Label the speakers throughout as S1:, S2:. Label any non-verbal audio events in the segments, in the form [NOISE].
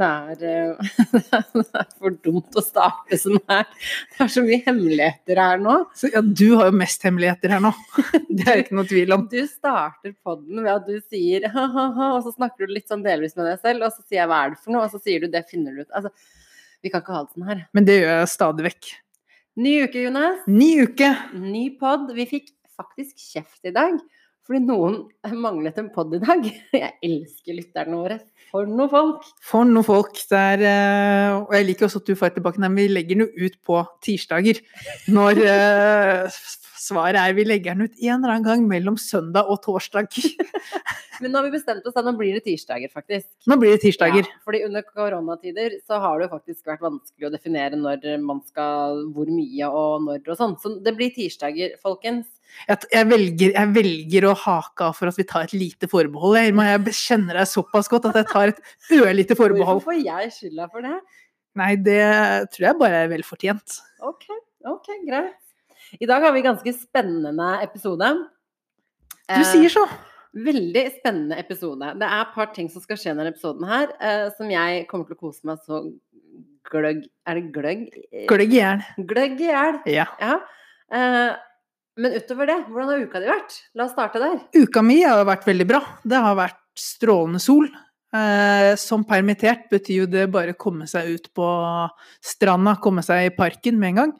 S1: det er, eh, [LAUGHS] det er for dumt å starte som her. Det er så mye hemmeligheter her nå.
S2: Så, ja, du har jo mest hemmeligheter her nå. [LAUGHS] Det er det ikke noe tvil om.
S1: Du starter podden ved at du sier ha-ha-ha, og så snakker du litt sånn delvis med deg selv, og så sier jeg hva er det for noe, og så sier du det finner du ut. Altså, vi kan ikke ha det sånn her.
S2: Men det gjør jeg stadig vekk.
S1: Ny uke, Jonas.
S2: Ny uke!
S1: Ny pod. Vi fikk faktisk kjeft i dag. Fordi noen manglet en pod i dag. [LAUGHS] Jeg elsker lytterne våre. For noe folk!
S2: For noen folk der eh, Og jeg liker også at du får tilbake Nei, men vi legger den jo ut på tirsdager. Når eh, s- svaret er vi legger den ut en eller annen gang mellom søndag og torsdag.
S1: Men nå har vi bestemt oss, da. Nå blir det tirsdager, faktisk.
S2: Nå blir det tirsdager.
S1: Ja, fordi under koronatider så har det jo faktisk vært vanskelig å definere når man skal, hvor mye og når og sånn. Så det blir tirsdager, folkens.
S2: Jeg, jeg, velger, jeg velger å hake av for at vi tar et lite forbehold. Jeg, Irma. jeg kjenner deg såpass godt at jeg tar et ørlite forbehold.
S1: [LAUGHS] Hvorfor får jeg skylda for det?
S2: Nei, det tror jeg bare er velfortjent.
S1: Ok, ok, greit. I dag har vi ganske spennende episode. Eh,
S2: Du sier så.
S1: Veldig spennende episode. Det er et par ting som skal skje i denne episoden her, eh, som jeg kommer til å kose meg så gløgg Er det gløgg?
S2: Gløgg i hjel.
S1: Gløgg i hjel.
S2: Ja.
S1: Ja. Eh, Men utover det, hvordan har uka di vært? La oss starte der.
S2: Uka mi har vært veldig bra. Det har vært strålende sol. Eh, som permittert betyr jo det bare komme seg ut på stranda, komme seg i parken med en gang.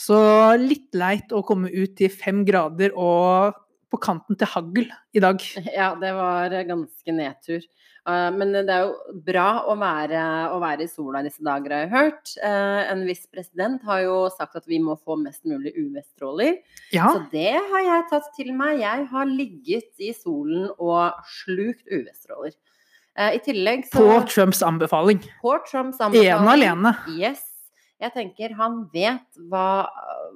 S2: Så litt leit å komme ut til fem grader og på kanten til hagl i dag.
S1: [LAUGHS] Ja, det var eh, ganske nedtur. Eh, Men det er jo bra å være, å være i sola disse dager, har jeg hørt. Eh, En viss president har jo sagt at vi må få mest mulig UV-stråler.
S2: Ja,
S1: Så det har jeg tatt til meg. Jeg har ligget i solen og slukt UV-stråler. Eh, I tillegg så
S2: på Trumps anbefaling.
S1: På Trumps
S2: Ene alene.
S1: Yes. Jeg tenker han vet hva,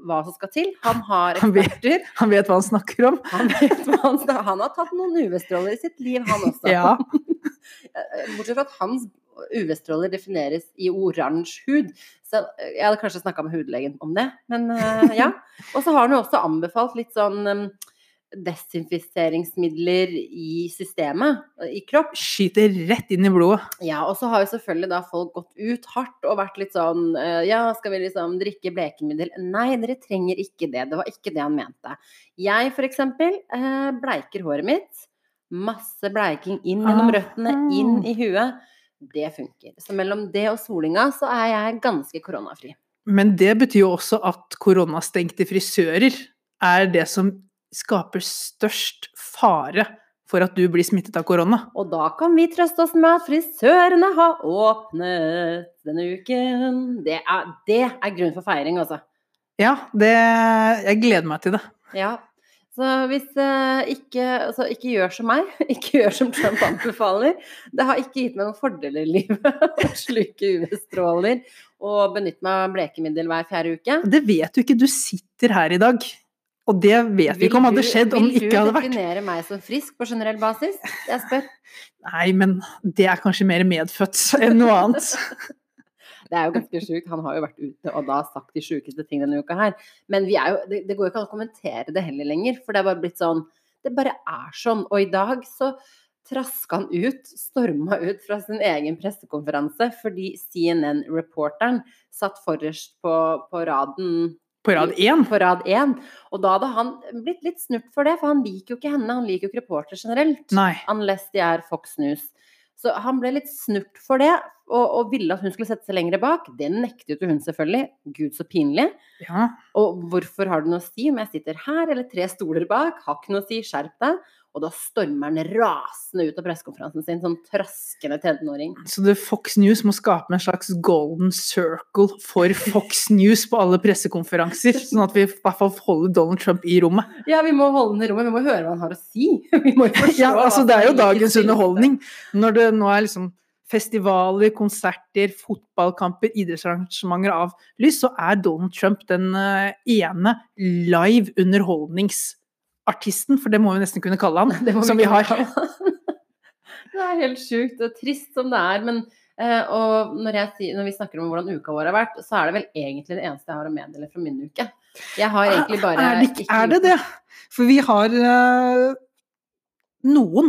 S1: hva som skal til. Han har
S2: Han vet-
S1: eksperter.
S2: Han vet hva han snakker om.
S1: Han, vet hva han, skal- han har tatt noen UV-stråler i sitt liv, han også.
S2: Ja.
S1: Eh, [LAUGHS] Bortsett fra at hans UV-stråler defineres i oransje hud. Så eh, jeg hadde kanskje snakka med hudlegen om det, men eh, ja. Og så har han jo også anbefalt litt sånn em, desinfiseringsmidler i systemet, i kropp.
S2: Skyter rett inn i blodet.
S1: Ja, og så har jo selvfølgelig da folk gått ut hardt og vært litt sånn eh, Ja, skal vi liksom drikke blekemiddel? Nei, dere trenger ikke det. Det var ikke det han mente. Jeg for eksempel eh, bleiker håret mitt. Masse bleiking inn gjennom røttene, inn i huet. Det funker. Så mellom det og solinga så er jeg ganske koronafri.
S2: Men det betyr jo også at koronastengte frisører er det som skaper størst fare for at du blir smittet av korona.
S1: Og da kan vi trøste oss med at frisørene har åpnet denne uken. Det er, det er grunn for feiring, altså.
S2: Ja, det Jeg gleder meg til det.
S1: Ja. Så hvis eh, ikke, altså, ikke gjør som meg, [LAUGHS] ikke gjør som Trump anbefaler. Det har ikke gitt meg noen fordeler i livet [LAUGHS] å sluke UV-stråler og benytte meg av blekemiddel hver fjerde uke.
S2: Det vet du ikke. Du sitter her i dag. Og det vet vi ikke om hadde skjedd om det ikke hadde
S1: Vil du
S2: vært
S1: definere meg som frisk på generell basis? Jeg spør.
S2: Nei, men det er kanskje mer medfødt [LAUGHS] enn noe annet.
S1: Det er jo ganske sjukt. Han har jo vært ute og da sagt de sjukeste ting denne uka her. Men vi er jo, det, det går jo ikke an å kommentere det heller lenger, for det er bare blitt sånn Det bare er sånn. Og i dag så traska han ut, storma ut fra sin egen pressekonferanse fordi CNN-reporteren satt forrest på, på raden
S2: På rad én.
S1: på rad én. Og da hadde han blitt litt snurt for det, for han liker jo ikke henne. Han liker jo ikke reportere generelt
S2: Nei.
S1: unless de er Fox News. Så han ble litt snurt for det, og, og ville at hun skulle sette seg lenger bak. Det nektet jo hun selvfølgelig. Gud, så pinlig.
S2: Ja.
S1: Og hvorfor har det noe å si om jeg sitter her eller tre stoler bak? Har ikke noe å si, skjerp deg. Og da stormer han rasende ut av pressekonferansen sin, sånn traskende 13-åring.
S2: Så det Fox News må skape en slags golden circle for Fox News på alle pressekonferanser, sånn at vi i hvert fall holder Donald Trump i rommet.
S1: Ja, vi må holde den i rommet, vi må høre hva han har å si. Vi [LAUGHS] må jo forstå
S2: Ja,
S1: hva
S2: altså
S1: som
S2: Det er jo
S1: like
S2: dagens
S1: sinte.
S2: underholdning. Når det nå er liksom festivaler, konserter, fotballkamper, idrettsarrangementer av lys, så er Donald Trump den eh, ene live underholdningsartisten, for [LAUGHS] det må vi nesten kunne kalle han,
S1: Det må
S2: som vi har.
S1: kalle han. [LAUGHS] Det er helt sjukt og trist som det er. Men eh, og når, jeg, sier- når vi snakker om hvordan uka vår har vært, så er det vel egentlig det eneste jeg har å meddele fra min uke. Jeg
S2: Ah,
S1: har egentlig bare
S2: Er det, ikke- er det det? For vi har eh, noen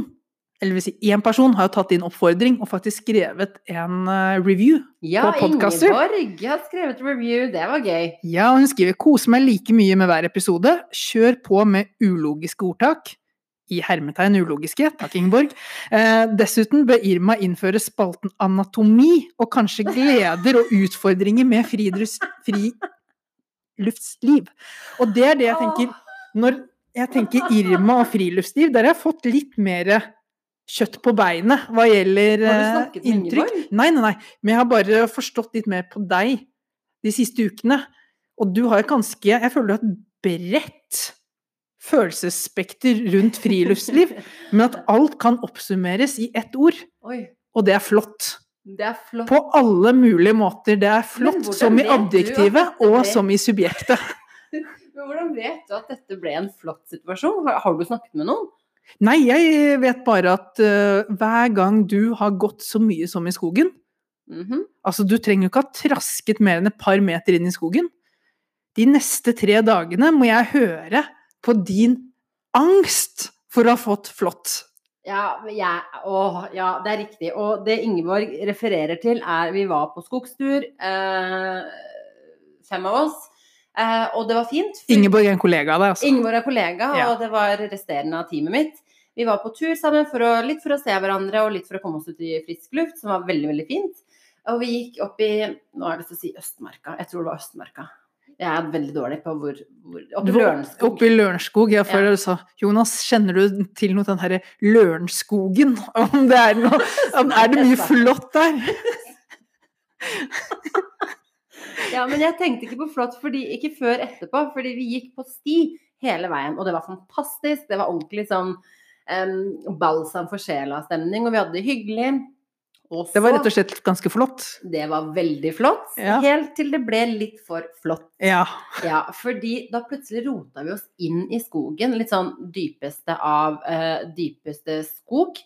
S2: eller vil si én person har jo tatt din oppfordring og faktisk skrevet en eh, review.
S1: Ja,
S2: På podcaster.
S1: Ingeborg har skrevet review, det var gøy.
S2: Ja, og hun skriver 'Kose meg like mye med hver episode. Kjør på med ulogiske ordtak'. I hermetegn ulogiske. Takk, Ingeborg. Eh, dessuten bør Irma innføre spalten anatomi og kanskje gleder og utfordringer med fridrus- friluftsliv. Og det er det jeg tenker når jeg tenker Irma og friluftsliv, der har jeg fått litt mer kjøtt på beinet hva gjelder
S1: Har du
S2: eh,
S1: snakket med
S2: inntrykk.
S1: Ingeborg?
S2: Nei, nei, nei. Men jeg har bare forstått litt mer på deg de siste ukene. Og du har et ganske Jeg føler du har et bredt følelsesspekter rundt
S1: [LAUGHS]
S2: friluftsliv. men at alt kan oppsummeres i ett ord,
S1: Oi,
S2: og det er flott.
S1: det er flott.
S2: På alle mulige måter. Det er flott
S1: hvordan
S2: som i
S1: vet du at
S2: adjektivet
S1: dette
S2: og
S1: ble-
S2: som i subjektet.
S1: Men hvordan vet du at dette ble en flott situasjon? Har, har du snakket med noen?
S2: Nei, jeg vet bare at eh, hver gang du har gått så mye som i skogen
S1: Mhm.
S2: Altså, du trenger jo ikke ha trasket mer enn et par meter inn i skogen. De neste tre dagene må jeg høre på din angst for å ha fått flått.
S1: Ja, men jeg, åh, ja, det er riktig. Og det Ingeborg refererer til, er vi var på skogstur, eh, fem av oss, eh, og det var fint. for-
S2: Ingeborg er en kollega av deg, altså.
S1: Ingeborg er kollega,
S2: Ja.
S1: og det var resterende av teamet mitt. Vi var på tur sammen, for å, litt for å se hverandre og litt for å komme oss ut i frisk luft, som var veldig, veldig fint. Og vi gikk opp i Nå er det til å si Østmarka. Jeg tror det var Østmarka. Jeg er veldig dårlig på hvor, hvor Oppe
S2: Du
S1: i
S2: var
S1: Lørenskog. [LAUGHS]
S2: Oppe i Lørenskog. Ja, for du sa Jonas, kjenner du til noe den herre Lørenskogen? [LAUGHS] Om det er noe om, Er det mye flått der?
S1: Ja, men jeg tenkte ikke på flott, fordi, ikke før etterpå, fordi vi gikk på sti hele veien, og det var fantastisk. Det var ordentlig sånn em, balsam for sjela-stemning, og vi hadde det hyggelig. Og
S2: Det var
S1: så-
S2: rett og slett ganske flott.
S1: Det var veldig flott,
S2: Ja.
S1: helt til det ble litt for flott.
S2: Ja.
S1: Ja, fordi da plutselig rota vi oss inn i skogen, litt sånn dypeste av eh, dypeste skog.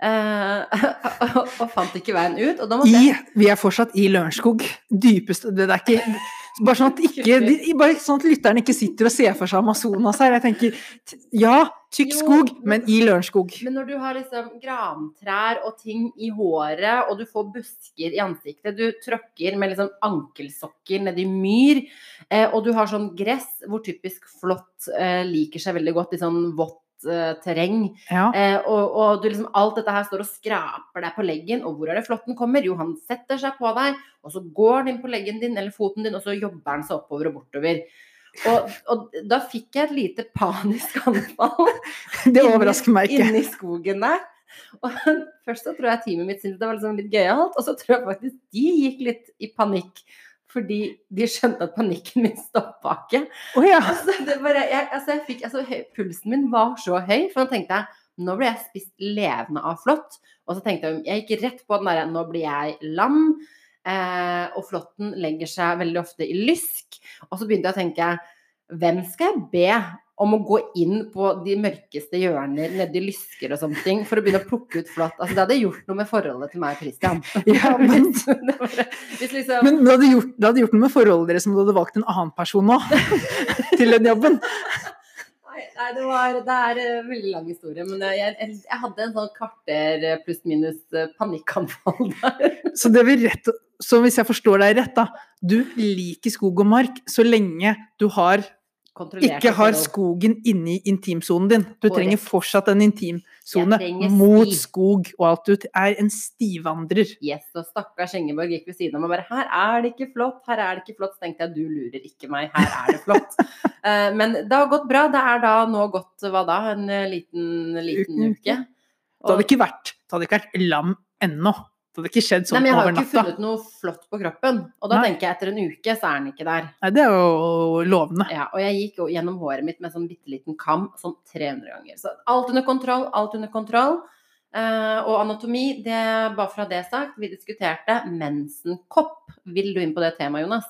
S1: Eh, [LAUGHS] og, og fant ikke veien ut. Og da måtte
S2: I,
S1: jeg
S2: vi er fortsatt i Lørenskog. Dypeste Det er ikke Bare sånn at, ikke, de- bare sånn at lytteren ikke sitter og ser for seg Amazonas her. Jeg tenker t- ja, tykk
S1: Jo,
S2: skog,
S1: men-
S2: men i Lørenskog.
S1: Men når du har liksom grantrær og ting i håret, og du får busker i ansiktet, du tråkker med liksom ankelsokker nedi myr, eh, og du har sånn gress hvor typisk flått eh, liker seg veldig godt i sånn vått eh, terreng. [LAUGHS]
S2: Ja.
S1: Eh, og, og du liksom, alt dette her står og skraper deg på leggen, og hvor er det flåtten kommer? Jo, han setter seg på deg, og så går han inn på leggen din eller foten din, og så jobber han seg oppover og bortover. Og, og da fikk jeg et lite panisk anfall
S2: Det overrasker meg ikke.
S1: inni skogen der. Og først så tror jeg teamet mitt syntes det var liksom litt gøyalt, og så tror jeg faktisk de gikk litt i panikk. Fordi de skjønte at panikken min stoppa ikke.
S2: Å ja.
S1: [LAUGHS] Altså, det bare, jeg, altså, jeg fikk, altså, høy, pulsen min var så høy, for nå tenkte jeg nå ble jeg spist levende av flått. Og så tenkte jeg jeg gikk rett på den derre nå blir jeg lam. Eh, og flåtten legger seg veldig ofte i lysk. Og så begynte jeg å tenke hvem skal jeg be om å gå inn på de mørkeste hjørner nedi lysker og sånne ting for å begynne å plukke ut flått? Altså, det hadde gjort noe med forholdet til meg og Christian.
S2: [LAUGHS] Ja, men-
S1: Hvis- [LAUGHS] det var- hvis liksom-
S2: Men du hadde gjort, det hadde gjort noe med forholdet deres om du hadde valgt en annen person nå [LAUGHS] til den jobben.
S1: Nei, nei, det, var, det er eh, veldig lang historie, men eh, jeg, jeg, jeg hadde en sånn kvarter eh, pluss-minus eh, panikkanfall [LAUGHS] der.
S2: Så, det vil rett, så hvis jeg forstår deg rett, da. Du liker skog og mark så lenge du har
S1: Kontrollerte
S2: ikke har
S1: forhold.
S2: skogen inni intimsonen din. Du
S1: Korrekt.
S2: trenger fortsatt en intimsone
S1: Jeg trenger
S2: mot
S1: sti.
S2: skog og alt. Du er en stivandrer.
S1: Yes, og stakkars Ingeborg gikk ved siden av meg og bare Her er det ikke flott, her er det ikke flott. Så tenkte jeg du lurer ikke meg, her er det
S2: [LAUGHS]
S1: flott. Eh, Men det har gått bra. Det er da nå gått hva da, en eh, liten, liten
S2: Uken.
S1: uke.
S2: Det hadde
S1: Og-
S2: ikke vært, det hadde ikke vært lam ennå. Det hadde ikke skjedd
S1: Nei,
S2: sånn
S1: men jeg har
S2: over
S1: jo ikke
S2: natta.
S1: funnet noe flott på kroppen. Og da
S2: Nei.
S1: tenker jeg etter en uke så er den ikke der.
S2: Nei, det er jo lovende.
S1: Ja, og jeg gikk jo gjennom håret mitt med sånn bitte liten kam sånn 300 ganger. Så alt under kontroll, alt under kontroll. Eh, og anatomi, det bare fra det sagt, vi diskuterte mensenkopp. Vil du inn på det temaet, Jonas?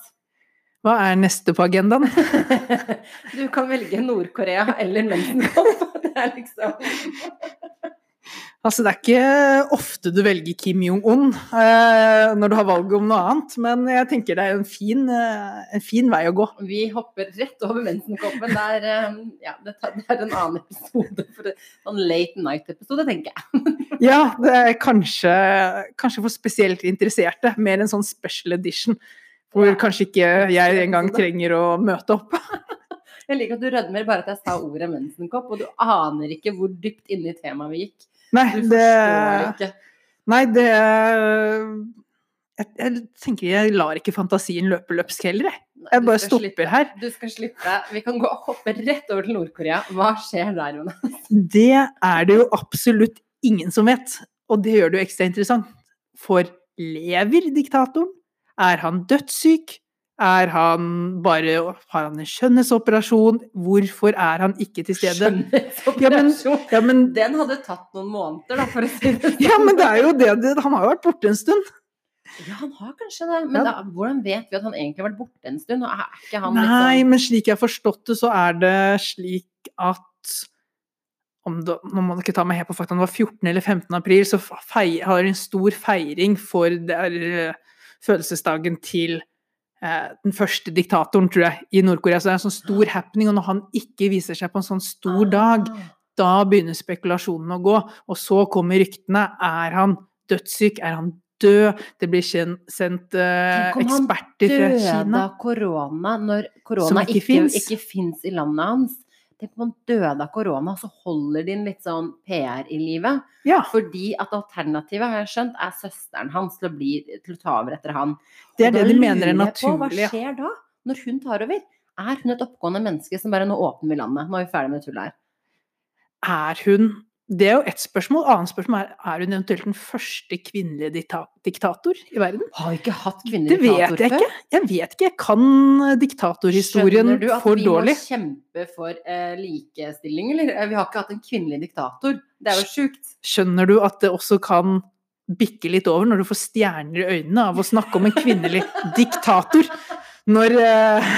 S2: Hva er neste på agendaen?
S1: [LAUGHS]
S2: [LAUGHS]
S1: du kan velge Nord-Korea eller mensenkopp. [LAUGHS] Det er liksom
S2: Altså, det er ikke ofte du velger Kim Jong-un eh, når du har valget om noe annet, men jeg tenker det er jo en fin, eh, en fin vei å gå.
S1: Vi hopper rett over mensenkoppen. Det er, eh, ja, det tar- det er en annen episode. For det, sånn late night-episode, tenker jeg.
S2: Ja, det er kanskje, kanskje for spesielt interesserte. Mer en sånn special edition. Hvor
S1: Ja.
S2: kanskje ikke jeg engang trenger å møte opp.
S1: Jeg liker at du rødmer bare at jeg sa ordet mensenkopp, og du aner ikke hvor dypt inne i temaet vi gikk.
S2: Nei,
S1: Du
S2: det,
S1: forstår ikke.
S2: nei, det jeg, jeg tenker jeg lar ikke fantasien løpe løpsk heller, jeg.
S1: Nei,
S2: Jeg
S1: du
S2: bare
S1: skal
S2: stopper her.
S1: slippe. Du skal slippe. Vi kan gå og hoppe rett over til Nord-Korea. Hva skjer der, Rune?
S2: Det er det jo absolutt ingen som vet. Og det gjør det jo ekstra interessant. For lever diktatoren? Er han dødssyk? Er han bare Har han en skjønnhetsoperasjon? Hvorfor er han ikke til stede? Ja, men-
S1: Skjønnhetsoperasjon.
S2: Ja, men,
S1: Den hadde tatt noen måneder, da, for å si det
S2: ja, men det er jo det, det Han har jo vært borte en stund.
S1: sånn. Ja, han har kanskje det, men
S2: Ja.
S1: da, hvordan vet vi at han egentlig har vært borte en stund? Og er ikke han litt
S2: Nei,
S1: sånn-
S2: men slik jeg har forstått det, så er det slik at om det, nå må du ikke ta meg helt på fakta, det var 14. eller 15. april, så fei, har de en stor feiring for det er, eh, følelsesdagen til eh, den første diktatoren, tror jeg, i Nord-Korea. Så det er en sånn stor happening, og når han ikke viser seg på en sånn stor dag,
S1: Ah,
S2: da begynner spekulasjonene å gå. Og så kommer ryktene. Er han dødssyk? Er han død? Det blir kjen- sendt eh,
S1: Tenk om han
S2: eksperter fra
S1: Døde
S2: Kina.
S1: av korona når
S2: Som
S1: korona
S2: ikke
S1: ikke,
S2: finnes.
S1: ikke fins i landet hans. Tenk om han døde av korona, så holder de en litt sånn PR i livet.
S2: Ja,
S1: Fordi at alternativet, har jeg skjønt, er søsteren hans til å, bli, til å ta over etter han.
S2: det
S1: Og
S2: er
S1: da
S2: det de mener er
S1: lurer jeg på,
S2: naturlig. ja.
S1: Hva skjer da, når hun tar over? Er hun et oppgående menneske som bare nå åpner vi landet? Nå er vi ferdig med tullet her.
S2: Er hun Det er jo ett spørsmål. Annet spørsmål er er hun eventuelt den første kvinnelige dikta diktator i verden?
S1: Har vi ikke hatt
S2: Det
S1: kvinnelig
S2: vet jeg ikke. Jeg vet ikke. Jeg kan eh, diktatorhistorien
S1: Skjønner du at
S2: for
S1: vi
S2: dårlig.
S1: må kjempe for eh, likestilling, eller? Eh, Vi har ikke hatt en kvinnelig diktator. Det er jo sjukt.
S2: Skjønner du at det også kan bikke litt over når du får stjerner i øynene av å snakke om en
S1: [LAUGHS]
S2: kvinnelig diktator? Når eh,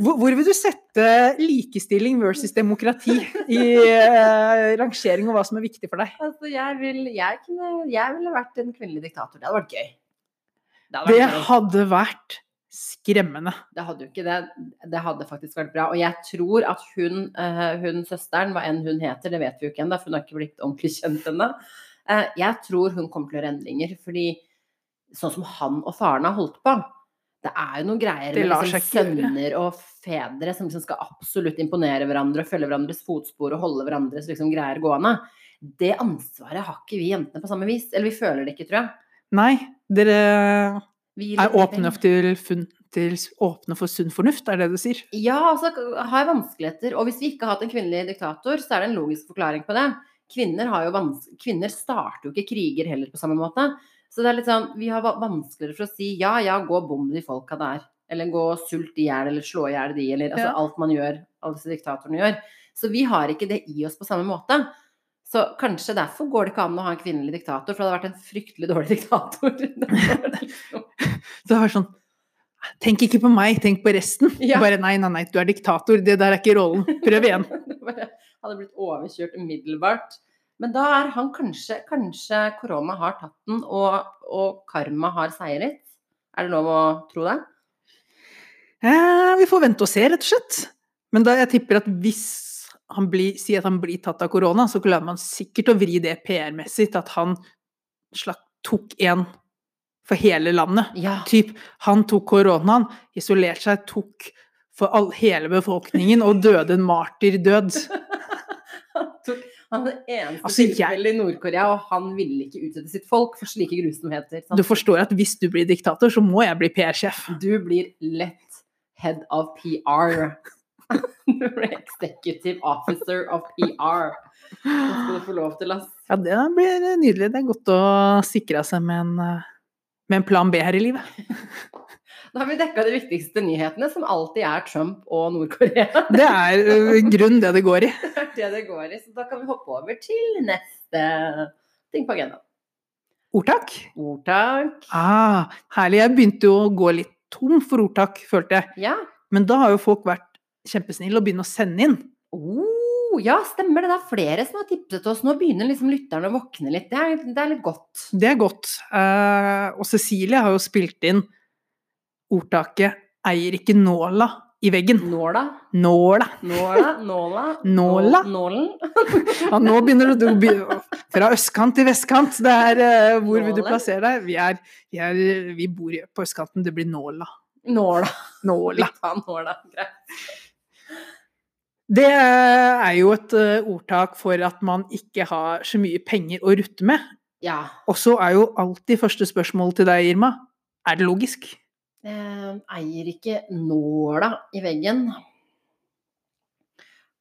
S2: hvor, hvor vil du sette likestilling versus demokrati i eh, rangering og hva som er viktig for deg?
S1: Altså, jeg, vil, jeg, kunne, jeg ville vært en kvinnelig diktator. Det hadde vært gøy. Det hadde,
S2: Det
S1: vært gøy.
S2: hadde vært skremmende.
S1: det hadde jo ikke det. Det hadde faktisk vært bra. Og jeg tror at hun, eh, hun søsteren, hva enn hun heter, det vet vi jo ikke ennå, for hun har ikke blitt ordentlig kjent ennå. Eh, jeg tror hun kommer til å gjøre endringer, fordi sånn som han og faren har holdt på det er jo noen greier
S2: Det
S1: med
S2: lar
S1: liksom
S2: seg ikke gjøre.
S1: sønner og fedre som liksom skal absolutt imponere hverandre og følge hverandres fotspor og holde hverandres liksom greier gående. Det ansvaret har ikke vi jentene på samme vis. Eller vi føler det ikke, tror jeg.
S2: Nei, dere
S1: Vi
S2: er
S1: liker
S2: åpne
S1: ting.
S2: til, funn- til s- åpne for sunn fornuft, er det du sier?
S1: Ja, altså har jeg vanskeligheter. Og hvis vi ikke har hatt en kvinnelig diktator, så er det en logisk forklaring på det. Kvinner, har jo vans Kvinner starter jo ikke kriger heller på samme måte. Så det er litt sånn, vi har va- vanskeligere for å si ja, ja, gå og bom de folka der. Eller gå og sult i hjel, eller slå i hjel de, eller altså,
S2: Ja.
S1: alt man gjør, alle disse diktatorene gjør. Så vi har ikke det i oss på samme måte. Så kanskje derfor går det ikke an å ha en kvinnelig diktator, for det hadde vært en fryktelig dårlig diktator. [LAUGHS]
S2: Det var sånn Tenk ikke på meg, tenk på resten.
S1: Ja.
S2: Bare nei, nei, nei, du er diktator, det der er ikke rollen. Prøv igjen.
S1: [LAUGHS] Det bare hadde blitt overkjørt umiddelbart. Men da er han kanskje Kanskje korona har tatt den, og, og karma har seiret? Er det lov å tro det?
S2: Eh, vi får vente og se, rett og slett. Men da jeg tipper at hvis han blir, sier at han blir tatt av korona, så klarer man sikkert å vri det PR-messig til at han slak, tok en for hele landet.
S1: Ja.
S2: Typ, han tok koronaen, isolerte seg, tok for all, hele befolkningen og døde en martyrdød.
S1: [LAUGHS] Han tok- han var det eneste
S2: Altså, jeg-
S1: tilfellet i Nord-Korea, og han ville ikke utsette sitt folk for slike grusomheter. sant?
S2: Du forstår at hvis du blir diktator, så må jeg bli PR-sjef.
S1: Du blir lett head of PR. [LAUGHS] Du blir executive officer of PR. Det skal du få lov til, ass.
S2: Ja, det blir nydelig. Det er godt å sikre seg med en, eh, med en plan B her i livet.
S1: Da har vi dekka de viktigste nyhetene, som alltid er Trump og Nord-Korea.
S2: Det er eh, grunn det det går i.
S1: Det [LAUGHS] er det det går i. Så da kan vi hoppe over til neste ting på agendaen.
S2: Ordtak?
S1: Ordtak.
S2: Ah, herlig. Jeg begynte jo å gå litt tom for ordtak, følte jeg.
S1: Ja.
S2: Men da har jo folk vært kjempesnille og begynner å sende inn.
S1: Oh, ja, stemmer det. Det er flere som har tipset oss. Nå begynner liksom lytterne å våkne litt. Det er, det er litt godt.
S2: Det er godt. Eh, og Cecilie har jo spilt inn ordtaket 'eier ikke nåla i veggen'.
S1: Nåla.
S2: Nåla.
S1: Nåla. Nåla.
S2: Nåla?
S1: Nålen.
S2: Ja, nå begynner du å be- Fra østkant til vestkant, det er eh, Hvor vil du
S1: Nåla.
S2: plassere deg? Vi, er, vi, er, vi bor i- på østkanten, det blir nåla.
S1: Nåla. Vi
S2: Nåla.
S1: tar nåla. Greit.
S2: Det er jo et eh, ordtak for at man ikke har så mye penger å rutte med.
S1: Ja.
S2: Og så er jo alltid første spørsmål til deg, Irma, er det logisk?
S1: Eh, eier ikke nåla i veggen.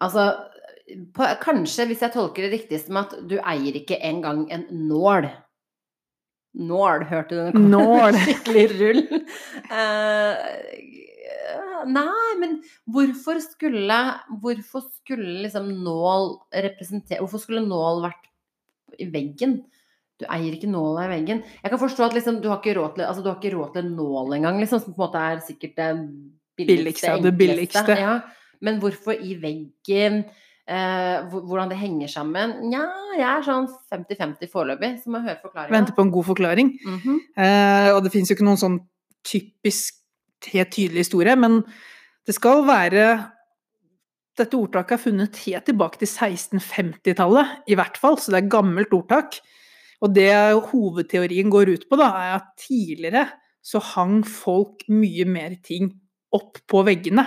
S1: Altså på, Kanskje, hvis jeg tolker det riktig, som at du eier ikke engang en nål. Nål, hørte du den kom?
S2: Nål.
S1: [LAUGHS] Skikkelig rull. Eh, nei, men hvorfor skulle Hvorfor skulle liksom nål representere Hvorfor skulle nål vært i veggen? Du eier ikke nåla i veggen. Jeg kan forstå at liksom, du, har ikke råd til, altså, du har ikke råd til en nål engang, liksom, som på en måte er sikkert det
S2: Billigste
S1: billigste.
S2: av det
S1: enkleste.
S2: billigste.
S1: Ja. Men hvorfor i veggen? Eh, hvor- hvordan det henger sammen? Nja, jeg er sånn 50-50 foreløpig, så må jeg høre Mhm. forklaringa.
S2: Venter på en god forklaring. Eh, og det fins jo ikke noen sånn typisk helt tydelig historie, men det skal være Dette ordtaket er funnet helt tilbake til 1650-tallet, i hvert fall, så det er et gammelt ordtak. Og det hovedteorien går ut på, da, er at tidligere så hang folk mye mer ting opp på veggene.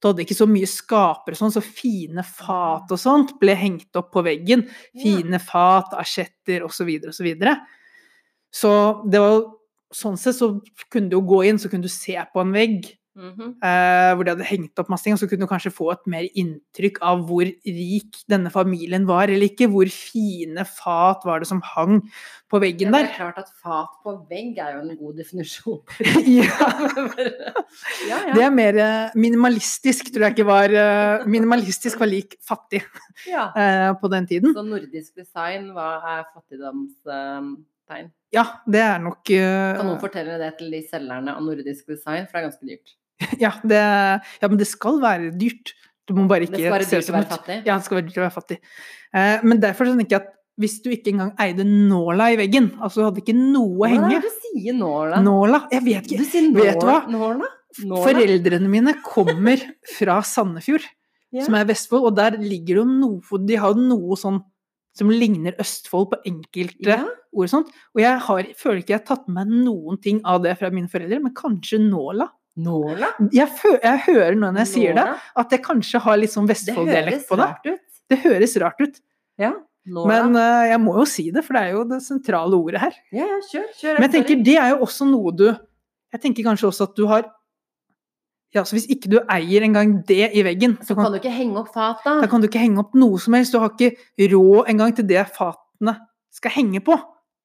S2: Du hadde ikke så mye skapere og sånn, så fine fat og sånt ble hengt opp på veggen fine fat, asjetter osv. osv. Så det var jo Sånn sett så kunne du jo gå inn, så kunne du se på en vegg
S1: Mhm.
S2: eh, hvor de hadde hengt opp masse ting, og så kunne du kanskje få et mer inntrykk av hvor rik denne familien var eller ikke. Hvor fine fat var det som hang på
S1: Ja,
S2: veggen
S1: det er
S2: der.
S1: klart at fat på vegg er jo en god definisjon.
S2: [LAUGHS] ja,
S1: [LAUGHS] ja, ja.
S2: det er mer eh, minimalistisk, tror jeg ikke var eh, Minimalistisk var lik fattig
S1: ja.
S2: eh, på den tiden.
S1: Så nordisk design, hva er fattigdomstegn?
S2: Ja, det er nok eh,
S1: Kan noen fortelle det til de selgerne av nordisk design, for det er ganske dyrt.
S2: Ja, det, ja, men det skal være dyrt. Du må bare
S1: Det
S2: ikke
S1: skal være
S2: se
S1: dyrt å
S2: som
S1: være
S2: et-
S1: fattig.
S2: Ja, det skal være dyrt å være fattig. Eh, men derfor så tenker jeg at hvis du ikke engang eide nåla i veggen, altså du hadde ikke noe å
S1: Hvordan er
S2: henge
S1: det du sier nåla?
S2: Nåla? Jeg vet
S1: Du
S2: ikke.
S1: sier nåla.
S2: Vet du hva?
S1: Nåla? Nåla?
S2: Foreldrene mine kommer fra Sandefjord,
S1: [LAUGHS] Ja.
S2: som er Vestfold, og der ligger det jo noe De har jo noe sånn som ligner Østfold på enkelte
S1: Ja.
S2: ord og sånt. Og jeg har, føler ikke jeg har tatt med noen ting av det fra mine foreldre, men kanskje nåla.
S1: Nåla?
S2: Jeg, fø- jeg hører nå når jeg sier det,
S1: Nåla?
S2: at jeg kanskje har litt sånn
S1: Det
S2: Vestfold-dialekt
S1: høres
S2: på det.
S1: rart ut.
S2: Det høres rart ut,
S1: Ja. Nåla.
S2: men eh, jeg må jo si det, for det er jo det sentrale ordet her.
S1: ja, ja, kjør, kjør.
S2: Men jeg tenker det er jo også noe du Jeg tenker kanskje også at du har Ja, så hvis ikke du eier engang det i veggen, så
S1: Så kan
S2: kan,
S1: du ikke henge opp fat,
S2: da
S1: da.
S2: kan du ikke henge opp noe som helst. Du har ikke råd engang til det fatene skal henge på.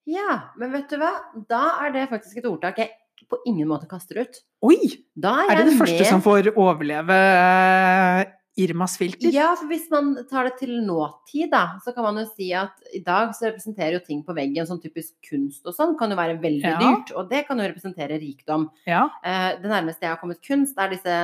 S1: Ja, men vet du hva? Da er det faktisk et ordtak jeg på ingen måte kaster ut.
S2: Oi!
S1: Da er,
S2: Er det
S1: jeg
S2: det første
S1: med.
S2: som får overleve eh, Irmas filter?
S1: Ja, for hvis man tar det til nåtid, da, så kan man jo si at i dag så representerer jo ting på veggen, sånn typisk kunst og sånn, kan jo være veldig
S2: Ja.
S1: dyrt. Og det kan jo representere rikdom.
S2: Ja.
S1: Eh, det nærmeste jeg har kommet kunst, er disse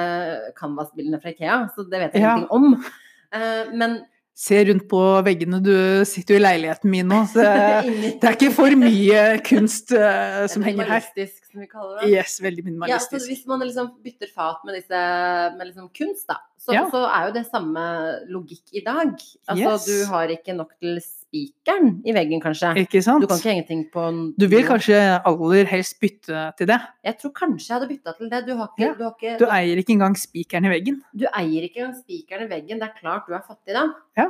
S1: canvas-bildene fra Ikea, så det vet jeg
S2: Ja.
S1: ingenting om. Eh, men
S2: Se rundt på veggene, du sitter jo i leiligheten min nå, så eh,
S1: [LAUGHS] inni
S2: [LAUGHS] Det er ikke for mye kunst eh, som henger her.
S1: minimalistisk, som vi kaller det.
S2: Yes, veldig
S1: Ja, så
S2: minimalistisk.
S1: hvis man liksom bytter fat med, disse, med liksom kunst, da, så,
S2: Ja.
S1: så er jo det samme logikk i dag. Altså,
S2: Yes.
S1: du har ikke nok til spikeren i veggen, kanskje.
S2: Ikke
S1: Du kan
S2: sant?
S1: ikke ingenting på en
S2: Du vil kanskje aller helst bytte til det.
S1: Jeg tror kanskje jeg hadde bytta til det. Du, har ikke,
S2: Ja.
S1: du, har ikke,
S2: Du eier ikke engang spikeren i veggen.
S1: du eier ikke engang spikeren i veggen. Det er klart du er fattig da.
S2: Ja.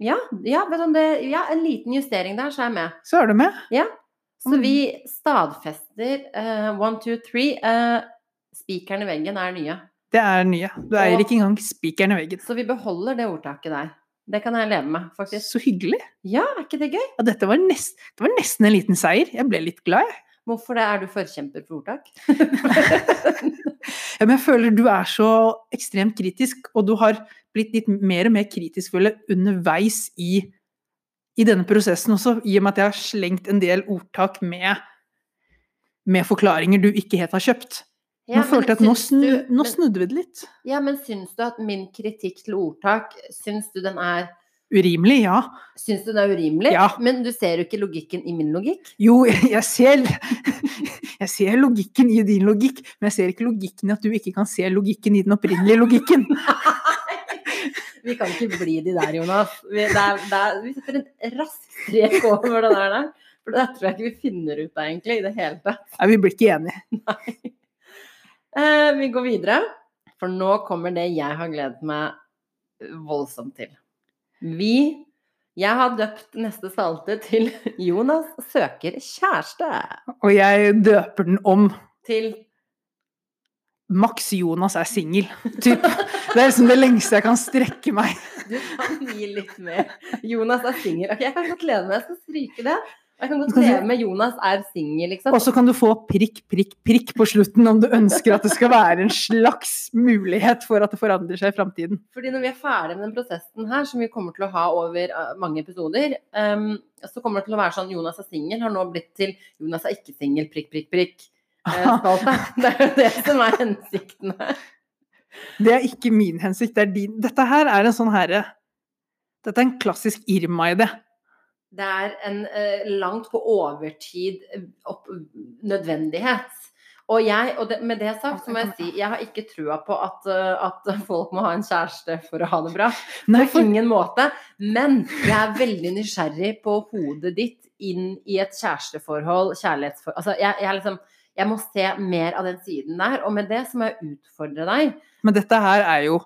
S1: Ja, ja, vet du om det, ja, en liten justering der, så er jeg med.
S2: Så er du med.
S1: Så
S2: Mm.
S1: vi stadfester eh, one, two, three. eh, spikeren i veggen er nye.
S2: Det er det nye. Du eier
S1: Og-
S2: ikke engang spikeren i veggen.
S1: Så vi beholder det ordtaket der. Det kan jeg leve med, faktisk.
S2: Så hyggelig.
S1: Ja, er ikke det gøy?
S2: Ja, dette var, nest, det var nesten en liten seier. Jeg ble litt glad, jeg.
S1: Hvorfor det? Er du forkjemper for ordtak?
S2: Ja, men jeg føler du er så ekstremt kritisk, og du har blitt litt mer og mer kritisk føler jeg, underveis i, i denne prosessen også, i og med at jeg har slengt en del ordtak med, med forklaringer du ikke helt har kjøpt.
S1: Ja,
S2: nå følte jeg at
S1: men
S2: nå,
S1: syns
S2: snu,
S1: du-
S2: nå
S1: men-
S2: snudde vi det litt.
S1: Ja, men syns du at min kritikk til ordtak, syns du den er
S2: Urimelig, ja.
S1: Syns du det er urimelig?
S2: Ja.
S1: Men du ser jo ikke logikken i min logikk.
S2: Jo, jeg ser, [LAUGHS] jeg ser logikken i din logikk, men jeg ser ikke logikken i at du ikke kan se logikken i den opprinnelige logikken.
S1: Vi kan ikke bli de der, Jonas. Vi, det er, det er, vi setter en rask strek over det der. der. For det tror jeg ikke vi finner ut av egentlig i det hele tatt.
S2: Nei, vi blir ikke enige.
S1: Nei. Eh, vi går videre, for nå kommer det jeg har gledet meg voldsomt til. Vi Jeg har døpt neste spalte til 'Jonas søker kjæreste'.
S2: Og jeg døper den om.
S1: Til
S2: Max Jonas er singel. typ. Det er liksom det lengste jeg kan strekke meg.
S1: Du kan gi litt mer. Jonas er singel. Ok, jeg kan godt leve med det. Jeg skal stryke det. Og Jeg kan godt
S2: Skal du-
S1: leve med Jonas er singel, liksom.
S2: Og så kan du få prikk, prikk, prikk på slutten om du ønsker at det skal være en slags mulighet for at det forandrer seg i framtiden.
S1: Fordi når vi er ferdig med den prosessen her, som vi kommer til å ha over eh, mange episoder, ehm, så kommer det til å være sånn Jonas er singel har nå blitt til Jonas er ikke singel, prikk, prikk, prikk. eh, spalte. [LAUGHS] Det er jo det som er hensikten her.
S2: Det er ikke min hensikt, det er din. Dette her er en sånn herre Dette er en klassisk Irma-idé.
S1: Det er en eh, langt på overtid eh, opp, nødvendighet. Og jeg, og det, med det sagt, så må jeg si jeg har ikke trua på at, eh, at folk må ha en kjæreste for å ha det bra.
S2: Nei,
S1: På ingen måte. Men jeg er veldig nysgjerrig på hodet ditt inn i et kjæresteforhold, kjærlighetsforhold Altså, jeg, jeg, er liksom, jeg må se mer av den siden der. Og med det så må jeg utfordre deg.
S2: Men dette her er jo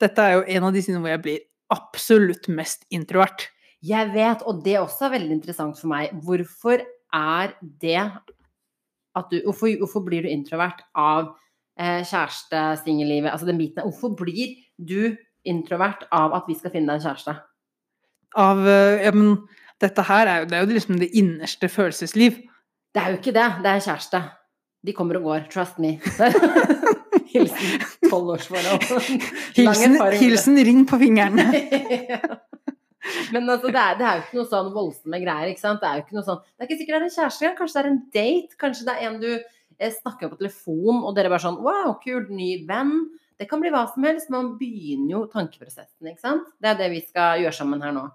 S2: Dette er jo en av de sidene hvor jeg blir absolutt mest introvert.
S1: Jeg vet, og det også er veldig interessant for meg, hvorfor er det at du Hvorfor, hvorfor blir du introvert av eh, kjæreste, singellivet, altså den biten der? Hvorfor blir du introvert av at vi skal finne deg en kjæreste?
S2: Av eh, ja, men, Dette her er jo, det er jo liksom det innerste følelsesliv.
S1: Det er jo ikke det, det er kjæreste. De kommer og går, trust me. [LAUGHS] Hilsen tolvårsforhold. erfaring
S2: Hilsen,
S1: med det.
S2: hilsen ring på
S1: [LAUGHS]
S2: fingeren.
S1: Men altså, det, er, det er jo ikke noe sånn voldsomme greier. ikke sant? Det er jo ikke noe sånn, det er ikke sikkert det er en kjæreste engang. Kanskje det er en date. Kanskje det er en du eh, snakker med på telefon, og dere bare sånn Wow, kul, ny venn. Det kan bli hva som helst. Man begynner jo tankeprosessen, ikke sant? Det er det vi skal gjøre sammen her nå.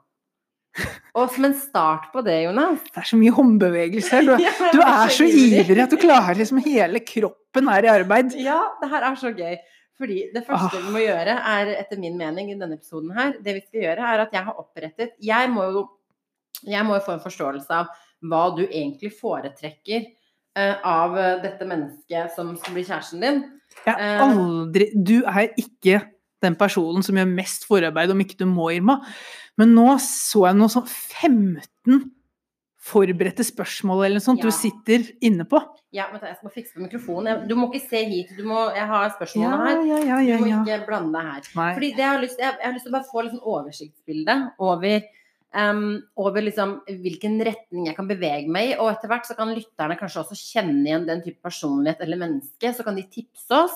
S1: Og som en start på det, Jonas
S2: Det er så mye håndbevegelser. Du, er- du er så ivrig at du klarer liksom hele kroppen er i arbeid.
S1: Ja, det her er så gøy. Fordi det første vi
S2: Ah.
S1: må gjøre, er etter min mening i denne episoden her, det vi skal gjøre, er at jeg har opprettet Jeg må jo, jeg må jo få en forståelse av hva du egentlig foretrekker eh, av eh, dette mennesket som skal bli kjæresten din.
S2: Jeg
S1: Eh.
S2: har aldri Du er ikke den personen som gjør mest forarbeid, om ikke du må, Irma. Men nå så jeg noe sånn 15 forberedte spørsmål eller noe sånt
S1: Ja.
S2: du sitter inne på.
S1: Ja, vent, da, jeg skal bare fikse på mikrofonen. Jeg, du må ikke se hit. Du må, jeg har
S2: Ja,
S1: spørsmålene her.
S2: ja, ja.
S1: Du
S2: ja,
S1: må
S2: ja.
S1: ikke blande deg her.
S2: Nei.
S1: Fordi det jeg, har lyst, jeg, jeg har lyst til å bare få litt sånn oversiktsbilde over, em, over liksom hvilken retning jeg kan bevege meg i. Og etter hvert så kan lytterne kanskje også kjenne igjen den type personlighet eller menneske. Så kan de tipse oss.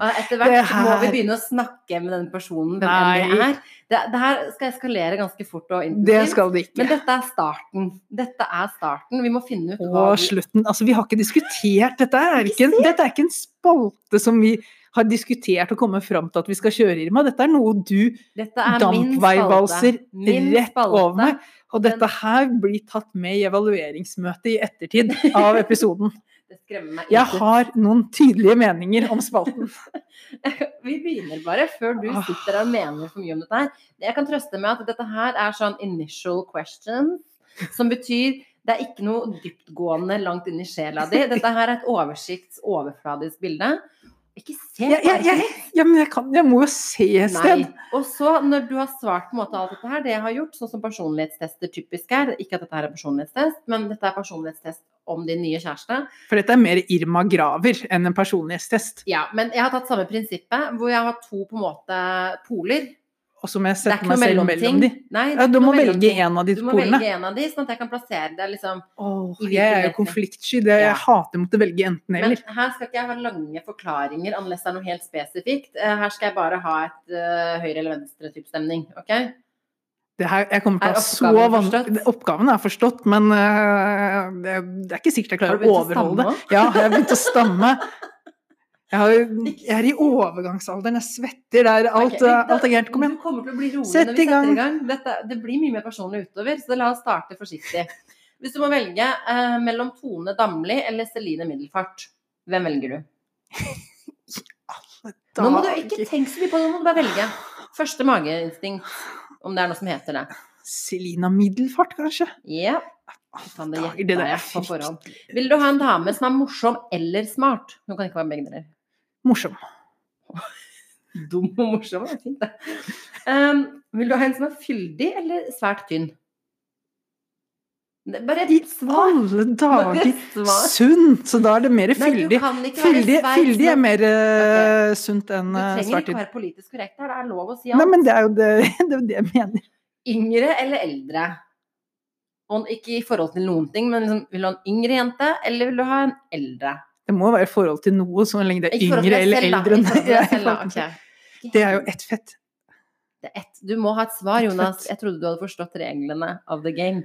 S1: Og etter hvert
S2: Det
S1: så må vi
S2: her-
S1: begynne å snakke med den personen. Hvem
S2: Nei.
S1: enn det er. Det, det her skal eskalere ganske fort og
S2: Det
S1: intensivt.
S2: skal det
S1: Men
S2: ikke.
S1: dette er starten. Dette er starten. Vi må finne ut hva
S2: Og
S1: vi
S2: slutten Altså, vi har ikke diskutert dette. Er ikke en, dette er ikke en spalte som vi har diskutert og kommet fram til at vi skal kjøre, Irma. Dette er noe du
S1: Dette er min
S2: Dampveivalser
S1: spalte. Min
S2: rett
S1: spalte.
S2: over meg. Og
S1: Den-
S2: dette her blir tatt med i evalueringsmøtet i ettertid
S1: [LAUGHS]
S2: av episoden.
S1: Det skremmer meg
S2: Jeg har noen tydelige meninger
S1: [LAUGHS]
S2: om spalten.
S1: Vi begynner bare, før du
S2: Åh.
S1: sitter og mener for mye om dette her. Jeg kan trøste med at dette her er sånn initial question, som betyr det er ikke noe dyptgående langt inn i sjela di. Dette her er et oversikts, overfladisk bilde. Ikke se
S2: Jeg, jeg, jeg, ja, men jeg, kan, jeg må jo se et
S1: Nei.
S2: sted.
S1: Og så, når du har svart på en måte alt dette her, det jeg har gjort, sånn som personlighetstester typisk er Ikke at dette her er personlighetstest, men dette er personlighetstest om din nye kjæreste.
S2: For dette er mer Irma Graver enn en personlighetstest.
S1: Ja, men jeg har tatt samme prinsippet, hvor jeg har to på en måte poler.
S2: Og så må
S1: Det
S2: jeg
S1: er
S2: sette
S1: ikke noe
S2: meg selv mellom
S1: mellomting.
S2: de.
S1: Nei, det
S2: Ja,
S1: er
S2: du
S1: ikke
S2: må
S1: noe
S2: velge
S1: mellomting.
S2: en av de
S1: Du må
S2: polene.
S1: velge en av de, sånn at jeg kan plassere deg liksom
S2: Åh,
S1: i hvilken
S2: jeg er jo
S1: retning.
S2: konfliktsky. Det, jeg
S1: Ja.
S2: hater å måtte velge enten
S1: Men
S2: eller.
S1: her skal ikke jeg ha lange forklaringer, unless det er noe helt spesifikt. Eh, Her skal jeg bare ha et eh, høyre- eller venstre-type stemning. Ok?
S2: Det her, jeg kommer til
S1: Er
S2: å ha så
S1: oppgaven
S2: vanskelig
S1: forstått?
S2: Oppgaven er forstått, men øh, det, det er ikke sikkert jeg klarer å overholde det. Ja, jeg har begynt å stamme. Jeg, har, jo- jeg er i overgangsalderen, jeg svetter der. Alt,
S1: Ok, men
S2: øh,
S1: da-
S2: alt er gærent. Kom igjen.
S1: Du kommer til å bli rolig
S2: Sett
S1: når vi
S2: i gang.
S1: setter i gang. Dette, det blir mye mer personlig utover, så la oss starte forsiktig. Hvis du må velge eh, mellom Tone Damli eller Celine Middelfart, hvem velger du? Nå må du ikke tenke så mye på det, nå må du bare velge. Første mageinstinkt, om det er noe som heter det.
S2: Selina Middelfart, kanskje?
S1: Ja. Kan det
S2: Dager,
S1: gjette
S2: det der er
S1: jeg på forhånd.
S2: fryktelig
S1: Vil du ha en dame som er morsom eller smart? Hun kan ikke være begge deler.
S2: morsom.
S1: Dum og morsom det er fint, det. Ehm, vil du ha en som er fyldig eller svært tynn? Det er Bare
S2: I
S1: et svar.
S2: alle
S1: Bare
S2: dager!
S1: et svar.
S2: Sunn! Så da er det mer
S1: Nei, du
S2: fyldig.
S1: kan ikke være
S2: Fyldig,
S1: sveis,
S2: fyldig er
S1: men
S2: mer eh, sunt enn
S1: Du
S2: eh,
S1: trenger ikke
S2: svartid.
S1: være politisk korrekt her, det er lov å si alt.
S2: Nei, men det er jo det, [LAUGHS] det, er jo det jeg mener.
S1: Yngre eller eldre? Og ikke i forhold til noen ting, men liksom, vil du ha en yngre jente, eller vil du ha en eldre?
S2: Det må være i forhold til noe, så lenge det er
S1: I forhold til
S2: yngre
S1: deg
S2: eller
S1: selv, da.
S2: eldre.
S1: I forhold til deg
S2: [LAUGHS] Ja, i
S1: selv, da.
S2: forhold til-
S1: Ok.
S2: Det er jo ett fett.
S1: Det er ett. Du må ha et svar,
S2: Ett
S1: Jonas.
S2: fett.
S1: Jeg trodde du hadde forstått reglene av the game.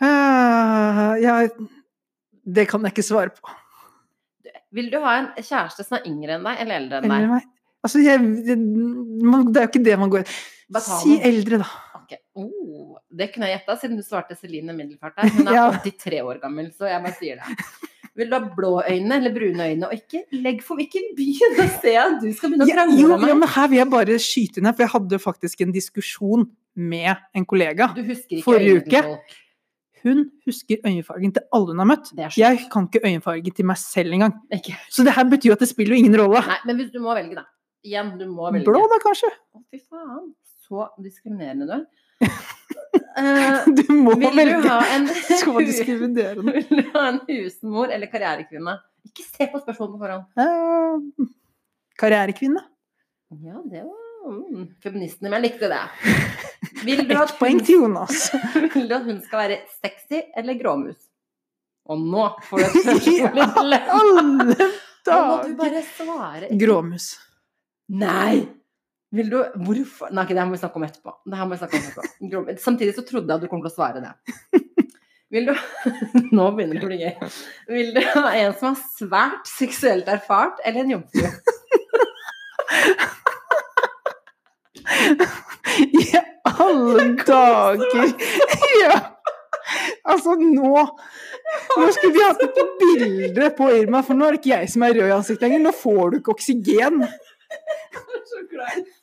S2: Ah, ja, det kan jeg ikke svare på.
S1: Vil du ha en kjæreste som er yngre enn deg, eller eldre enn
S2: Eller
S1: deg?
S2: meg. Altså, jeg, det, man, det er jo ikke det man går
S1: Batano.
S2: Si eldre, da.
S1: Ok. Oh, det kunne jeg gjetta, siden du svarte Celine Middelfart der. Hun er
S2: [LAUGHS] Ja.
S1: 83 år gammel, så jeg bare sier det. Vil du ha blå øyne eller brune øyne? Og ikke legg for Ikke begynn å se at du skal begynne å
S2: Ja,
S1: krangle
S2: jo,
S1: med
S2: ja,
S1: meg.
S2: men her vil jeg bare skyte ned, for jeg hadde faktisk en diskusjon med en kollega.
S1: Du husker ikke
S2: Forrige
S1: øynene til
S2: uke.
S1: folk.
S2: Hun husker øyenfargen til alle hun har møtt.
S1: Det er sjukt.
S2: Jeg kan ikke øyenfargen til meg selv engang.
S1: Ikke.
S2: Så det her betyr jo at det spiller jo ingen rolle.
S1: Nei, men hvis du må velge, da. Igjen, du må velge.
S2: Blå, da, kanskje?
S1: Å, fy faen. Så diskriminerende du er.
S2: [LAUGHS]
S1: Eh,
S2: Du må
S1: vil du
S2: velge. [LAUGHS]
S1: ha en
S2: Skal man diskriminerende?
S1: [LAUGHS] Vil du ha en husmor eller karrierekvinne? Ikke se på spørsmålet på forhånd.
S2: Eh, Karrierekvinne.
S1: Ja, det var mm, Feministen i meg likte det. Vil
S2: [LAUGHS]
S1: du, at
S2: Ett poeng
S1: hun,
S2: til Jonas.
S1: vil du at hun [LAUGHS] skal være sexy eller gråmus? Og nå får
S2: [LAUGHS]
S1: du et spørsmål. [LAUGHS]
S2: Alle
S1: Nå må du
S2: dager!
S1: bare svare.
S2: Gråmus. [LAUGHS]
S1: Nei! Vil du Hvorfor Nei, ok, det her må vi snakke om etterpå. Det her må vi snakke om etterpå. Grom- Samtidig så trodde jeg at du kom til å svare det. Vil du [LAUGHS] Nå begynner det å bli gøy. Vil du ha en som er svært seksuelt erfart, eller en jomfru?
S2: I alle dager! [LAUGHS] Ja. Altså, nå [LAUGHS] Nå skulle vi hatt et bilde på Irma, for nå er det ikke jeg som er rød i ansiktet lenger. Nå får du ikke oksygen.
S1: Så kleint.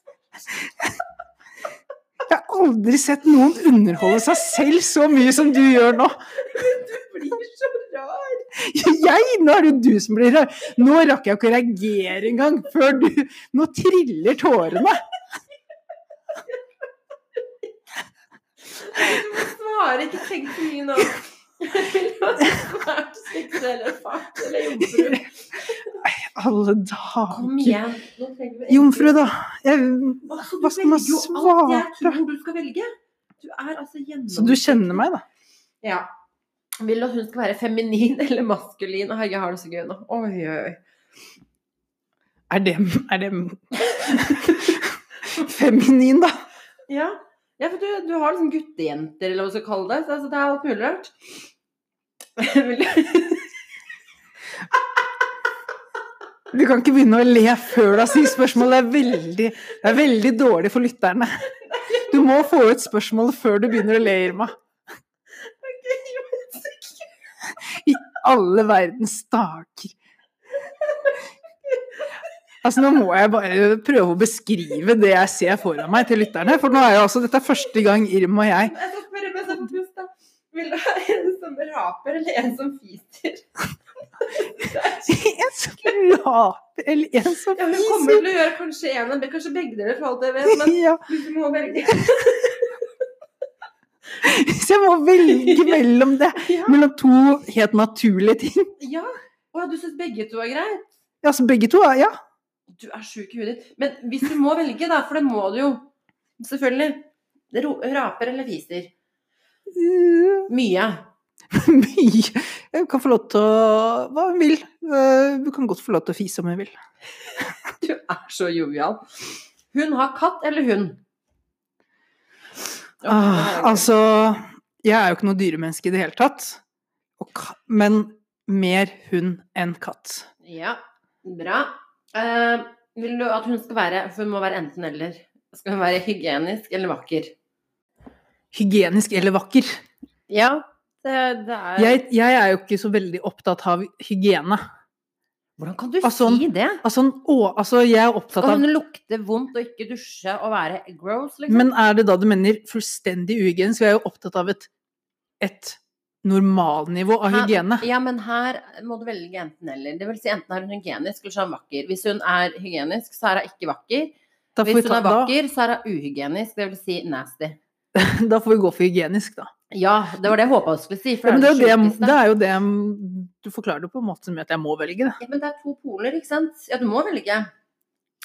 S2: Jeg har aldri sett noen underholde seg selv så mye som du gjør nå.
S1: Du blir så rar.
S2: [LAUGHS] Jeg? Nå er det jo du som blir rar. Nå rakk jeg ikke å reagere engang før du Nå triller tårene.
S1: Du må svare, ikke tenk så mye nå. Vil du ha en svært seksuelt erfart, eller jomfru?
S2: Alle
S1: Kom
S2: dager.
S1: igjen. Nå trenger vi
S2: Jomfru, da. Jeg,
S1: Altså,
S2: hva skal man
S1: Du velger jo alt jeg
S2: svare?
S1: tror du skal velge. Du er altså gjennom...
S2: så du kjenner meg, da?
S1: Ja. Vil du at hun skal være feminin [LAUGHS] eller maskulin? Å, jeg har det så gøy nå. Oi, oi, oi.
S2: Er det, er det [LAUGHS] feminin, da?
S1: Ja. ja, for du, du har liksom guttejenter, eller hva du skal kalle det. Så altså, det er alt mulig rart. [LAUGHS] Vil du-
S2: Du kan ikke begynne å le før du har stilt spørsmål. Det er, veldig, det er veldig dårlig for lytterne. Du må få ut spørsmålet før du begynner å le, Irma. I alle verdens dager. Altså, nå må jeg bare prøve å beskrive det jeg ser foran meg til lytterne. For nå er jo altså, dette er første gang Irma og jeg [LAUGHS]
S1: Jeg skal spørre meg sånn pust, da. Vil du ha en som raper, eller en som fiser?
S2: En som laper, eller en som
S1: Ja, hun kommer til å gjøre kanskje en av kanskje begge deler, for alt jeg vet,
S2: [LAUGHS]
S1: men
S2: Ja,
S1: du må velge.
S2: hvis jeg må velge mellom det.
S1: Ja.
S2: Mellom to helt naturlige ting.
S1: ja. Å, ja, du syns begge to er greit?
S2: Altså begge to, ja. [LAUGHS]
S1: Du er sjuk i huet ditt. Men hvis du må velge, da, for det må du jo. Selvfølgelig. Det ro- Raper eller fiser?
S2: Eh,
S1: Mye.
S2: Mye. Hun kan få lov til å hva hun vil. Eh, Hun kan godt få lov til å fise om hun vil.
S1: Du er så jovial. Hun har katt eller hund? Å,
S2: Ah,
S1: herregud.
S2: altså, jeg er jo ikke noe dyremenneske i det hele tatt. Og, ka- men mer hund enn katt.
S1: Ja, bra. Eh, vil du at hun skal være for Hun må være enten-eller. Skal hun være hygienisk eller vakker?
S2: Hygienisk eller vakker.
S1: Ja, det, det er
S2: Jeg, jeg er jo ikke så veldig opptatt av hygiene.
S1: Hvordan kan du
S2: Altså,
S1: si det?
S2: Altså, å, altså, jeg er opptatt
S1: Skal
S2: av
S1: hun lukte vondt og ikke dusje og være gross, liksom?
S2: Men er det da du mener fullstendig uhygienisk? Vi er jo opptatt av et, et normalnivå av
S1: Her-
S2: hygiene.
S1: [LAUGHS] Ja, men her må du velge enten eller. Det vil si enten er hun hygienisk eller så er hun vakker. Hvis hun er hygienisk, så er hun ikke vakker.
S2: Da får, vi
S1: Hvis hun
S2: ta,
S1: er
S2: da,
S1: vakker, så er hun uhygienisk, det vil si nasty.
S2: da [LAUGHS] får vi gå for hygienisk, da.
S1: Ja, det var det jeg håpa du skulle si. For
S2: Ja, men det, er jo det, jeg-
S1: sjukeste.
S2: det er jo det jeg- Du forklarer det på en måte som gjør at jeg må velge det.
S1: Ja, men det er to poler, ikke sant? Ja, du må velge.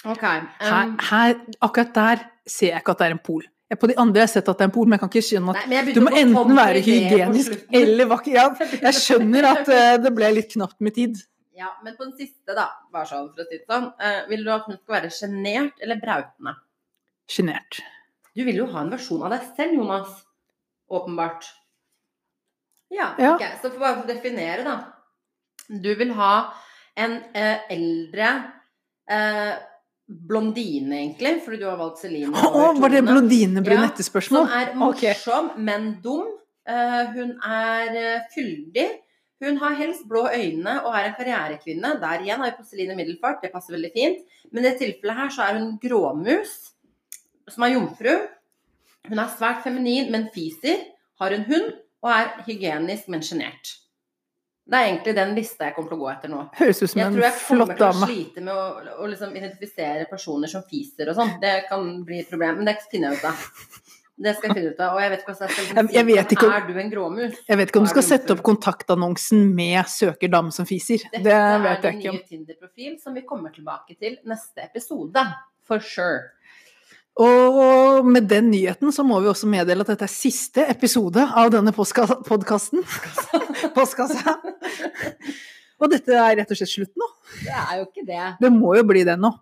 S1: Ok.
S2: Her,
S1: Um,
S2: her, akkurat der ser jeg ikke at det er en pol. Jeg, på de andre har jeg sett at det er en pol, men jeg kan ikke skjønne at
S1: nei, men jeg
S2: Du
S1: begynte å
S2: må
S1: få
S2: enten
S1: tom for
S2: være
S1: ideer på
S2: hygienisk
S1: slutten. [LAUGHS]
S2: eller vakker. Ja, jeg skjønner at eh, det ble litt knapt med tid.
S1: Ja, men på den siste, da, bare sånn for å si det sånn, eh, vil du at hun skal være sjenert eller brautende?
S2: Sjenert.
S1: Du vil jo ha en versjon av deg selv, Jonas. Åpenbart. Ja,
S2: Ja.
S1: ok. Så for bare å definere, da. Du vil ha en eh, eldre eh, blondine, egentlig, fordi du har valgt Celine.
S2: Å,
S1: over
S2: var det
S1: Tone,
S2: blondinebrunettespørsmål?
S1: Som er
S2: Ok.
S1: morsom, men dum. Eh, hun er eh, fyldig. Hun har helst blå øyne og er en karrierekvinne. Der igjen har vi Celine Middelfart, det passer veldig fint. Men i dette tilfellet her så er hun gråmus, som er jomfru. Hun er svært feminin, men fiser. Har en hund og er hygienisk, men sjenert. Det er egentlig den lista jeg kommer til å gå etter nå.
S2: Høres ut som
S1: Jeg
S2: en
S1: tror jeg
S2: flott
S1: kommer til å
S2: dame.
S1: slite med å, å liksom identifisere personer som fiser og sånn. Det kan bli et problem, men det finner jeg ut av. Det skal jeg finne ut av. Og jeg vet ikke hva jeg skal si.
S2: Jeg- jeg vet ikke om-
S1: Er du en gråmus?
S2: Jeg vet ikke om du
S1: Er
S2: skal
S1: det
S2: sette opp
S1: jomfru?
S2: kontaktannonsen med 'søker dame som fiser'. Det vet jeg ikke
S1: Dette er
S2: om.
S1: din nye Tinder-profil som vi kommer tilbake til neste episode. For sure.
S2: Og med den nyheten så må vi også meddele at dette er siste episode av denne podkasten. [LAUGHS] Postkassa. Og dette er rett og slett slutt nå.
S1: Det er jo ikke det.
S2: Det må jo bli det nå.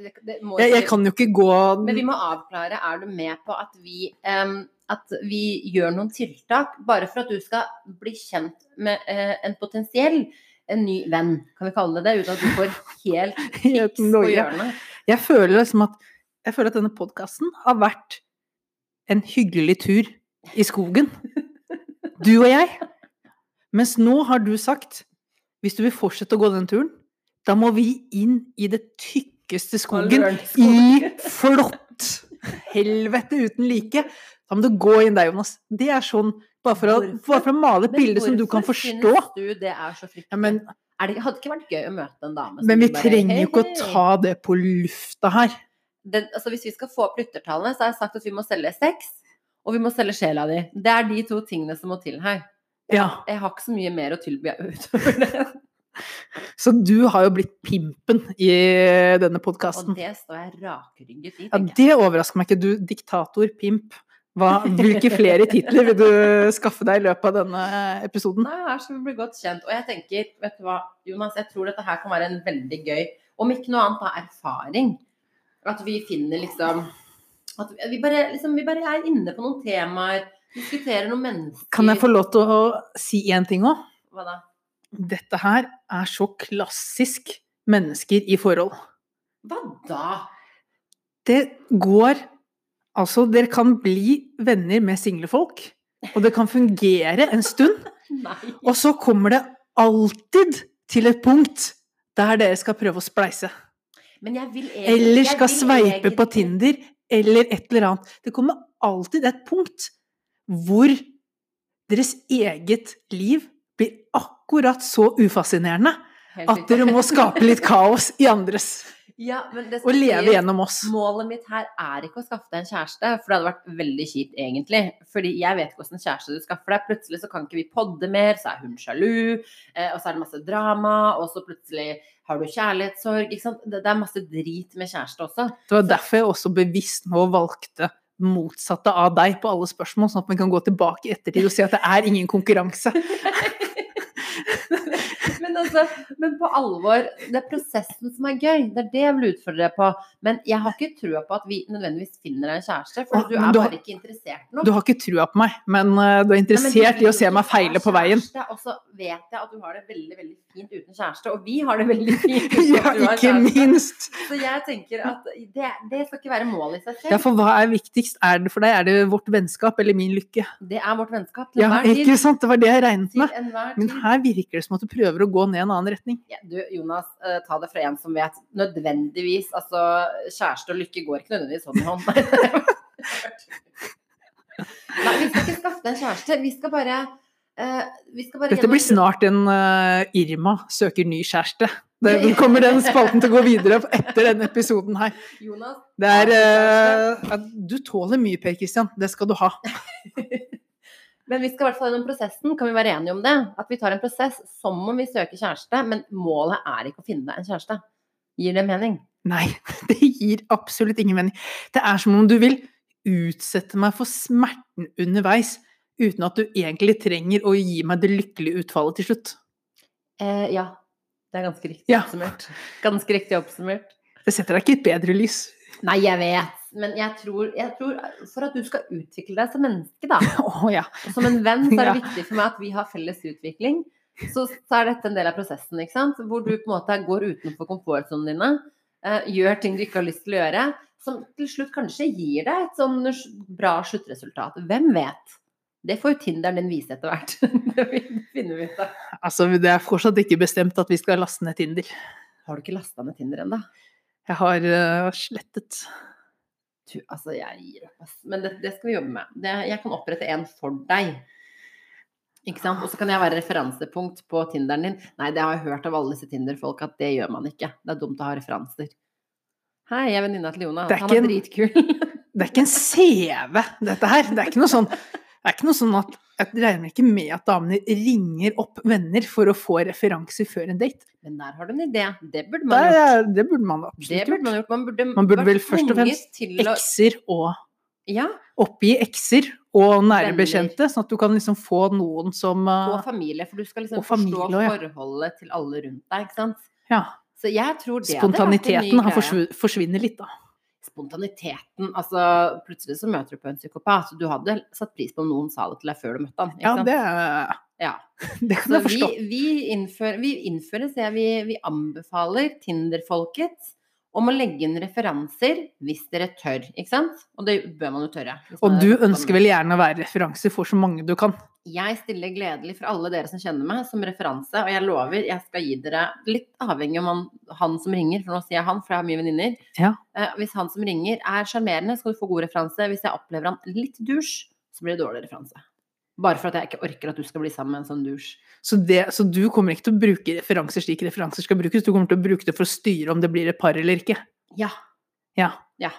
S1: det, det må
S2: Jeg, jeg
S1: ikke-
S2: kan jo ikke gå
S1: Men vi må avklare, er du med på at vi, em, at vi gjør noen tiltak bare for at du skal bli kjent med eh, en potensiell en ny venn, kan vi kalle det det, uten at du får helt
S2: [LAUGHS] Helt
S1: fiks på
S2: noia.
S1: hjørnet?
S2: Jeg føler liksom at jeg føler at denne podkasten har vært en hyggelig tur i skogen. Du og jeg. Mens nå har du sagt hvis du vil fortsette å gå den turen, da må vi inn i det tykkeste skogen. I flott helvete uten like. Da må du gå inn der, Jonas. Det er sånn bare for å,
S1: Hvorfor?
S2: bare for å male et
S1: Men
S2: bilde som du kan
S1: hvorfor
S2: forstå.
S1: synes du det er så fryktelig?
S2: Ja, men,
S1: er det, hadde det ikke vært gøy å møte en dame som
S2: men vi
S1: Altså, bare,
S2: trenger jo ikke å
S1: «Hei,
S2: ta det på lufta her.
S1: den, altså hvis vi skal få opp lyttertallene, så har jeg sagt at vi må selge sex, og vi må selge sjela di. Det er de to tingene som må til her.
S2: Ja.
S1: Jeg har ikke så mye mer å tilby utover det.
S2: Så du har jo blitt pimpen i denne
S1: Og
S2: podkasten.
S1: det står jeg rakrygget i.
S2: Ja,
S1: tenker jeg.
S2: det overrasker meg ikke. Du, diktator, pimp. Hva, hvilke flere
S1: [LAUGHS]
S2: titler vil du skaffe deg i løpet av denne episoden?
S1: Nei, her skal vi bli godt kjent. Og jeg tenker, vet du hva, Jonas, jeg tror dette her kan være en veldig gøy, om ikke noe annet da, erfaring. At vi finner liksom At vi bare, liksom, vi bare er inne på noen temaer, diskuterer noen mennesker
S2: Kan jeg få lov til å si én ting òg?
S1: Hva da?
S2: Dette her er så klassisk mennesker i forhold.
S1: Hva da? [LAUGHS]
S2: Det går Altså, dere kan bli venner med singlefolk, og det kan fungere en stund.
S1: Nei.
S2: Og så kommer det alltid til et punkt der dere skal prøve å spleise.
S1: Men jeg vil egentlig
S2: Eller
S1: jeg
S2: skal
S1: vil
S2: sveipe på
S1: egentlig-
S2: Tinder, eller et eller annet. Det kommer alltid et punkt hvor deres eget liv blir akkurat så ufascinerende
S1: Helt
S2: at dere
S1: riktig.
S2: må skape litt kaos i andres,
S1: [LAUGHS] ja, men det skal
S2: og leve
S1: sies.
S2: gjennom oss.
S1: Målet mitt her er ikke å skaffe deg en kjæreste, for det hadde vært veldig kjipt egentlig. Fordi jeg vet ikke hvordan kjæreste du skaffer deg. Plutselig så kan ikke vi podde mer, så er hun sjalu, eh, og så er det masse drama, og så plutselig har du kjærlighetssorg. Ikke sant? Det, det er masse drit med kjæreste også.
S2: Det var derfor jeg også bevisst nå valgte motsatte av deg på alle spørsmål, sånn at vi kan gå tilbake i ettertid og si at det er ingen konkurranse.
S1: men, altså, men på alvor, det er prosessen som er gøy. Det er det jeg vil utfordre deg på. Men jeg har ikke trua på at vi nødvendigvis finner deg en kjæreste,
S2: Ah,
S1: for du
S2: men
S1: er
S2: du har-
S1: bare ikke interessert nå.
S2: Du har ikke trua på meg, men eh, du er
S1: Nei, men
S2: interessert
S1: du
S2: i å
S1: vil
S2: se
S1: jo
S2: meg
S1: ha
S2: feile på
S1: [LAUGHS]
S2: veien.
S1: kjæreste, Og så vet jeg at du har det veldig veldig fint uten kjæreste, og vi har det
S2: [LAUGHS]
S1: veldig fint uten at
S2: Ja,
S1: du har
S2: ikke
S1: kjæreste.
S2: minst!
S1: Så jeg tenker at det, det skal ikke være målet i seg
S2: Ja,
S1: selv.
S2: for hva er viktigst? Er det for deg? Er det vårt vennskap eller min lykke?
S1: Det er vårt vennskap til
S2: Ja,
S1: enhver tid.
S2: ikke sant? Det var det jeg regnet
S1: Til
S2: med.
S1: enhver
S2: Men
S1: tid.
S2: her virker det som at du prøver å gå gå ned en annen retning.
S1: Ja, du, Jonas, eh, ta det fra en som vet nødvendigvis Altså, kjæreste og lykke går ikke nødvendigvis hånd [LAUGHS] i hånd. Nei, vi skal ikke skaffe en kjæreste. Vi skal bare eh, vi skal bare
S2: Dette blir
S1: gjennom-
S2: snart en eh, Irma søker ny kjæreste. Det den [LAUGHS] kommer den spalten til å gå videre opp etter denne episoden her.
S1: Jonas,
S2: Det er eh, at Du tåler mye, Per Kristian. Det skal du ha.
S1: men vi skal i hvert fall gjennom prosessen. Kan vi være enige om det? At vi tar en prosess som om vi søker kjæreste, men målet er ikke å finne en kjæreste. Gir det mening?
S2: Nei, [LAUGHS] det gir absolutt ingen mening. Det er som om du vil utsette meg for smerten underveis, uten at du egentlig trenger å gi meg det lykkelige utfallet til slutt.
S1: Eh, ja. Det er ganske riktig
S2: Ja.
S1: oppsummert. Ganske riktig oppsummert.
S2: Det setter deg ikke i et bedre lys. [LAUGHS]
S1: Nei, jeg vet. Men jeg tror, jeg tror for at du skal utvikle deg som menneske, da,
S2: Å ja.
S1: og som en venn, så er det [LAUGHS]
S2: Ja.
S1: viktig for meg at vi har felles utvikling. Så, så er dette en del av prosessen, ikke sant? hvor du på en måte går utenfor komfortsonene dine. eh, gjør ting du ikke har lyst til å gjøre, som til slutt kanskje gir deg et sånn bra sluttresultat. Hvem vet? Det får jo Tinderen din vise etter hvert. [LAUGHS] det finner vi ut av.
S2: Altså, det er fortsatt ikke bestemt at vi skal laste ned Tinder.
S1: Har du ikke lasta ned Tinder ennå?
S2: Jeg har eh, slettet.
S1: Du, Altså, jeg gir opp, ass. Men det, det skal vi jobbe med. Det, jeg kan opprette en for deg. Ikke sant? Og så kan jeg være referansepunkt på Tinderen din. Nei, det har jeg hørt av alle disse Tinder-folk at det gjør man ikke. Det er dumt å ha referanser. Hei, jeg er venninna til Jonas.
S2: Det er
S1: Han
S2: ikke
S1: er
S2: en-
S1: dritkul. [LAUGHS]
S2: Det er ikke en CV, dette her. Det er ikke noe sånn, det er ikke noe sånn at jeg regner ikke med at damene ringer opp venner for å få referanser før en date.
S1: Men der har du en idé. Det burde
S2: Det,
S1: man gjort.
S2: er, det burde man
S1: Det
S2: absolutt
S1: burde
S2: gjort.
S1: man gjort. Man burde,
S2: Man burde
S1: vært
S2: vel først og
S1: tvunget
S2: fremst
S1: til å-
S2: Ekser og
S1: Ja,
S2: Oppgi ekser og nære
S1: Venner.
S2: bekjente, sånn at du kan liksom få noen som
S1: og
S2: eh,
S1: familie. For du skal liksom
S2: og familie
S1: forstå
S2: også, ja.
S1: forholdet til alle rundt deg, ikke sant.
S2: Ja.
S1: Så jeg tror det hadde vært en ny
S2: Spontaniteten har
S1: greie.
S2: forsvu- forsvinner litt, da.
S1: spontaniteten. Altså, plutselig så møter du på en psykopat. Du hadde satt pris på om noen sa det til deg før du møtte han. ikke
S2: Ja,
S1: sant?
S2: det, er-
S1: Ja.
S2: [LAUGHS] det kan
S1: Så
S2: jeg forstå.
S1: vi, vi, innfører, vi innfører, sier jeg, vi, vi anbefaler Tinder-folket om å legge inn referanser hvis dere tør, ikke sant? Og det bør man jo tørre. hvis
S2: Og
S1: man er
S2: du
S1: sånn.
S2: ønsker vel gjerne å være referanse for så mange du kan.
S1: Jeg stiller gledelig for alle dere som kjenner meg, som referanse. Og jeg lover, jeg skal gi dere litt avhengig om han, han som ringer, for nå sier jeg han, for jeg har mye venninner.
S2: Ja.
S1: Eh, hvis han som ringer er sjarmerende, skal du få god referanse. Hvis jeg opplever han litt dusj, så blir det dårlig referanse. Bare for at jeg ikke orker at du skal bli sammen med en sånn dusj.
S2: Så, det, så du kommer ikke til å bruke referanser slik referanser skal brukes, du kommer til å bruke det for å styre om det blir et par eller ikke.
S1: Ja.
S2: Ja.
S1: Ja.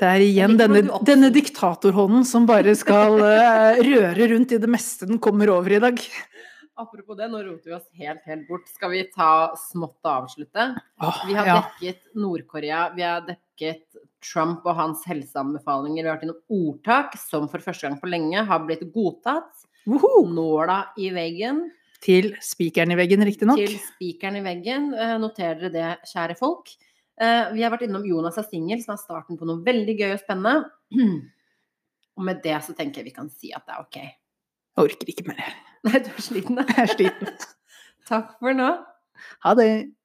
S2: Det er igjen
S1: Jeg liker hvordan
S2: denne,
S1: du oppsum-
S2: denne diktatorhånden som bare skal
S1: [LAUGHS]
S2: eh, røre rundt i det meste den kommer over i dag.
S1: Apropos det, nå roter vi oss helt, helt bort. Skal vi ta smått og avslutte?
S2: Åh,
S1: Vi har
S2: ja.
S1: dekket Nord-Korea, vi har dekket Trump og hans helseanbefalinger. Vi har vært innom ordtak som for første gang på lenge har blitt godtatt.
S2: Woho!
S1: Nåla i veggen
S2: Til spikeren i veggen, riktignok.
S1: til spikeren i veggen. Eh, Noter dere det, kjære folk. Eh, Vi har vært innom Jonas er singel, som er starten på noe veldig gøy og spennende. [CLEARS THROAT] Og med det så tenker jeg vi kan si at det er ok. [LAUGHS]
S2: Jeg orker ikke mer.
S1: [LAUGHS] Nei, du er sliten, da.
S2: Jeg er sliten.
S1: Takk for nå.
S2: Ha det.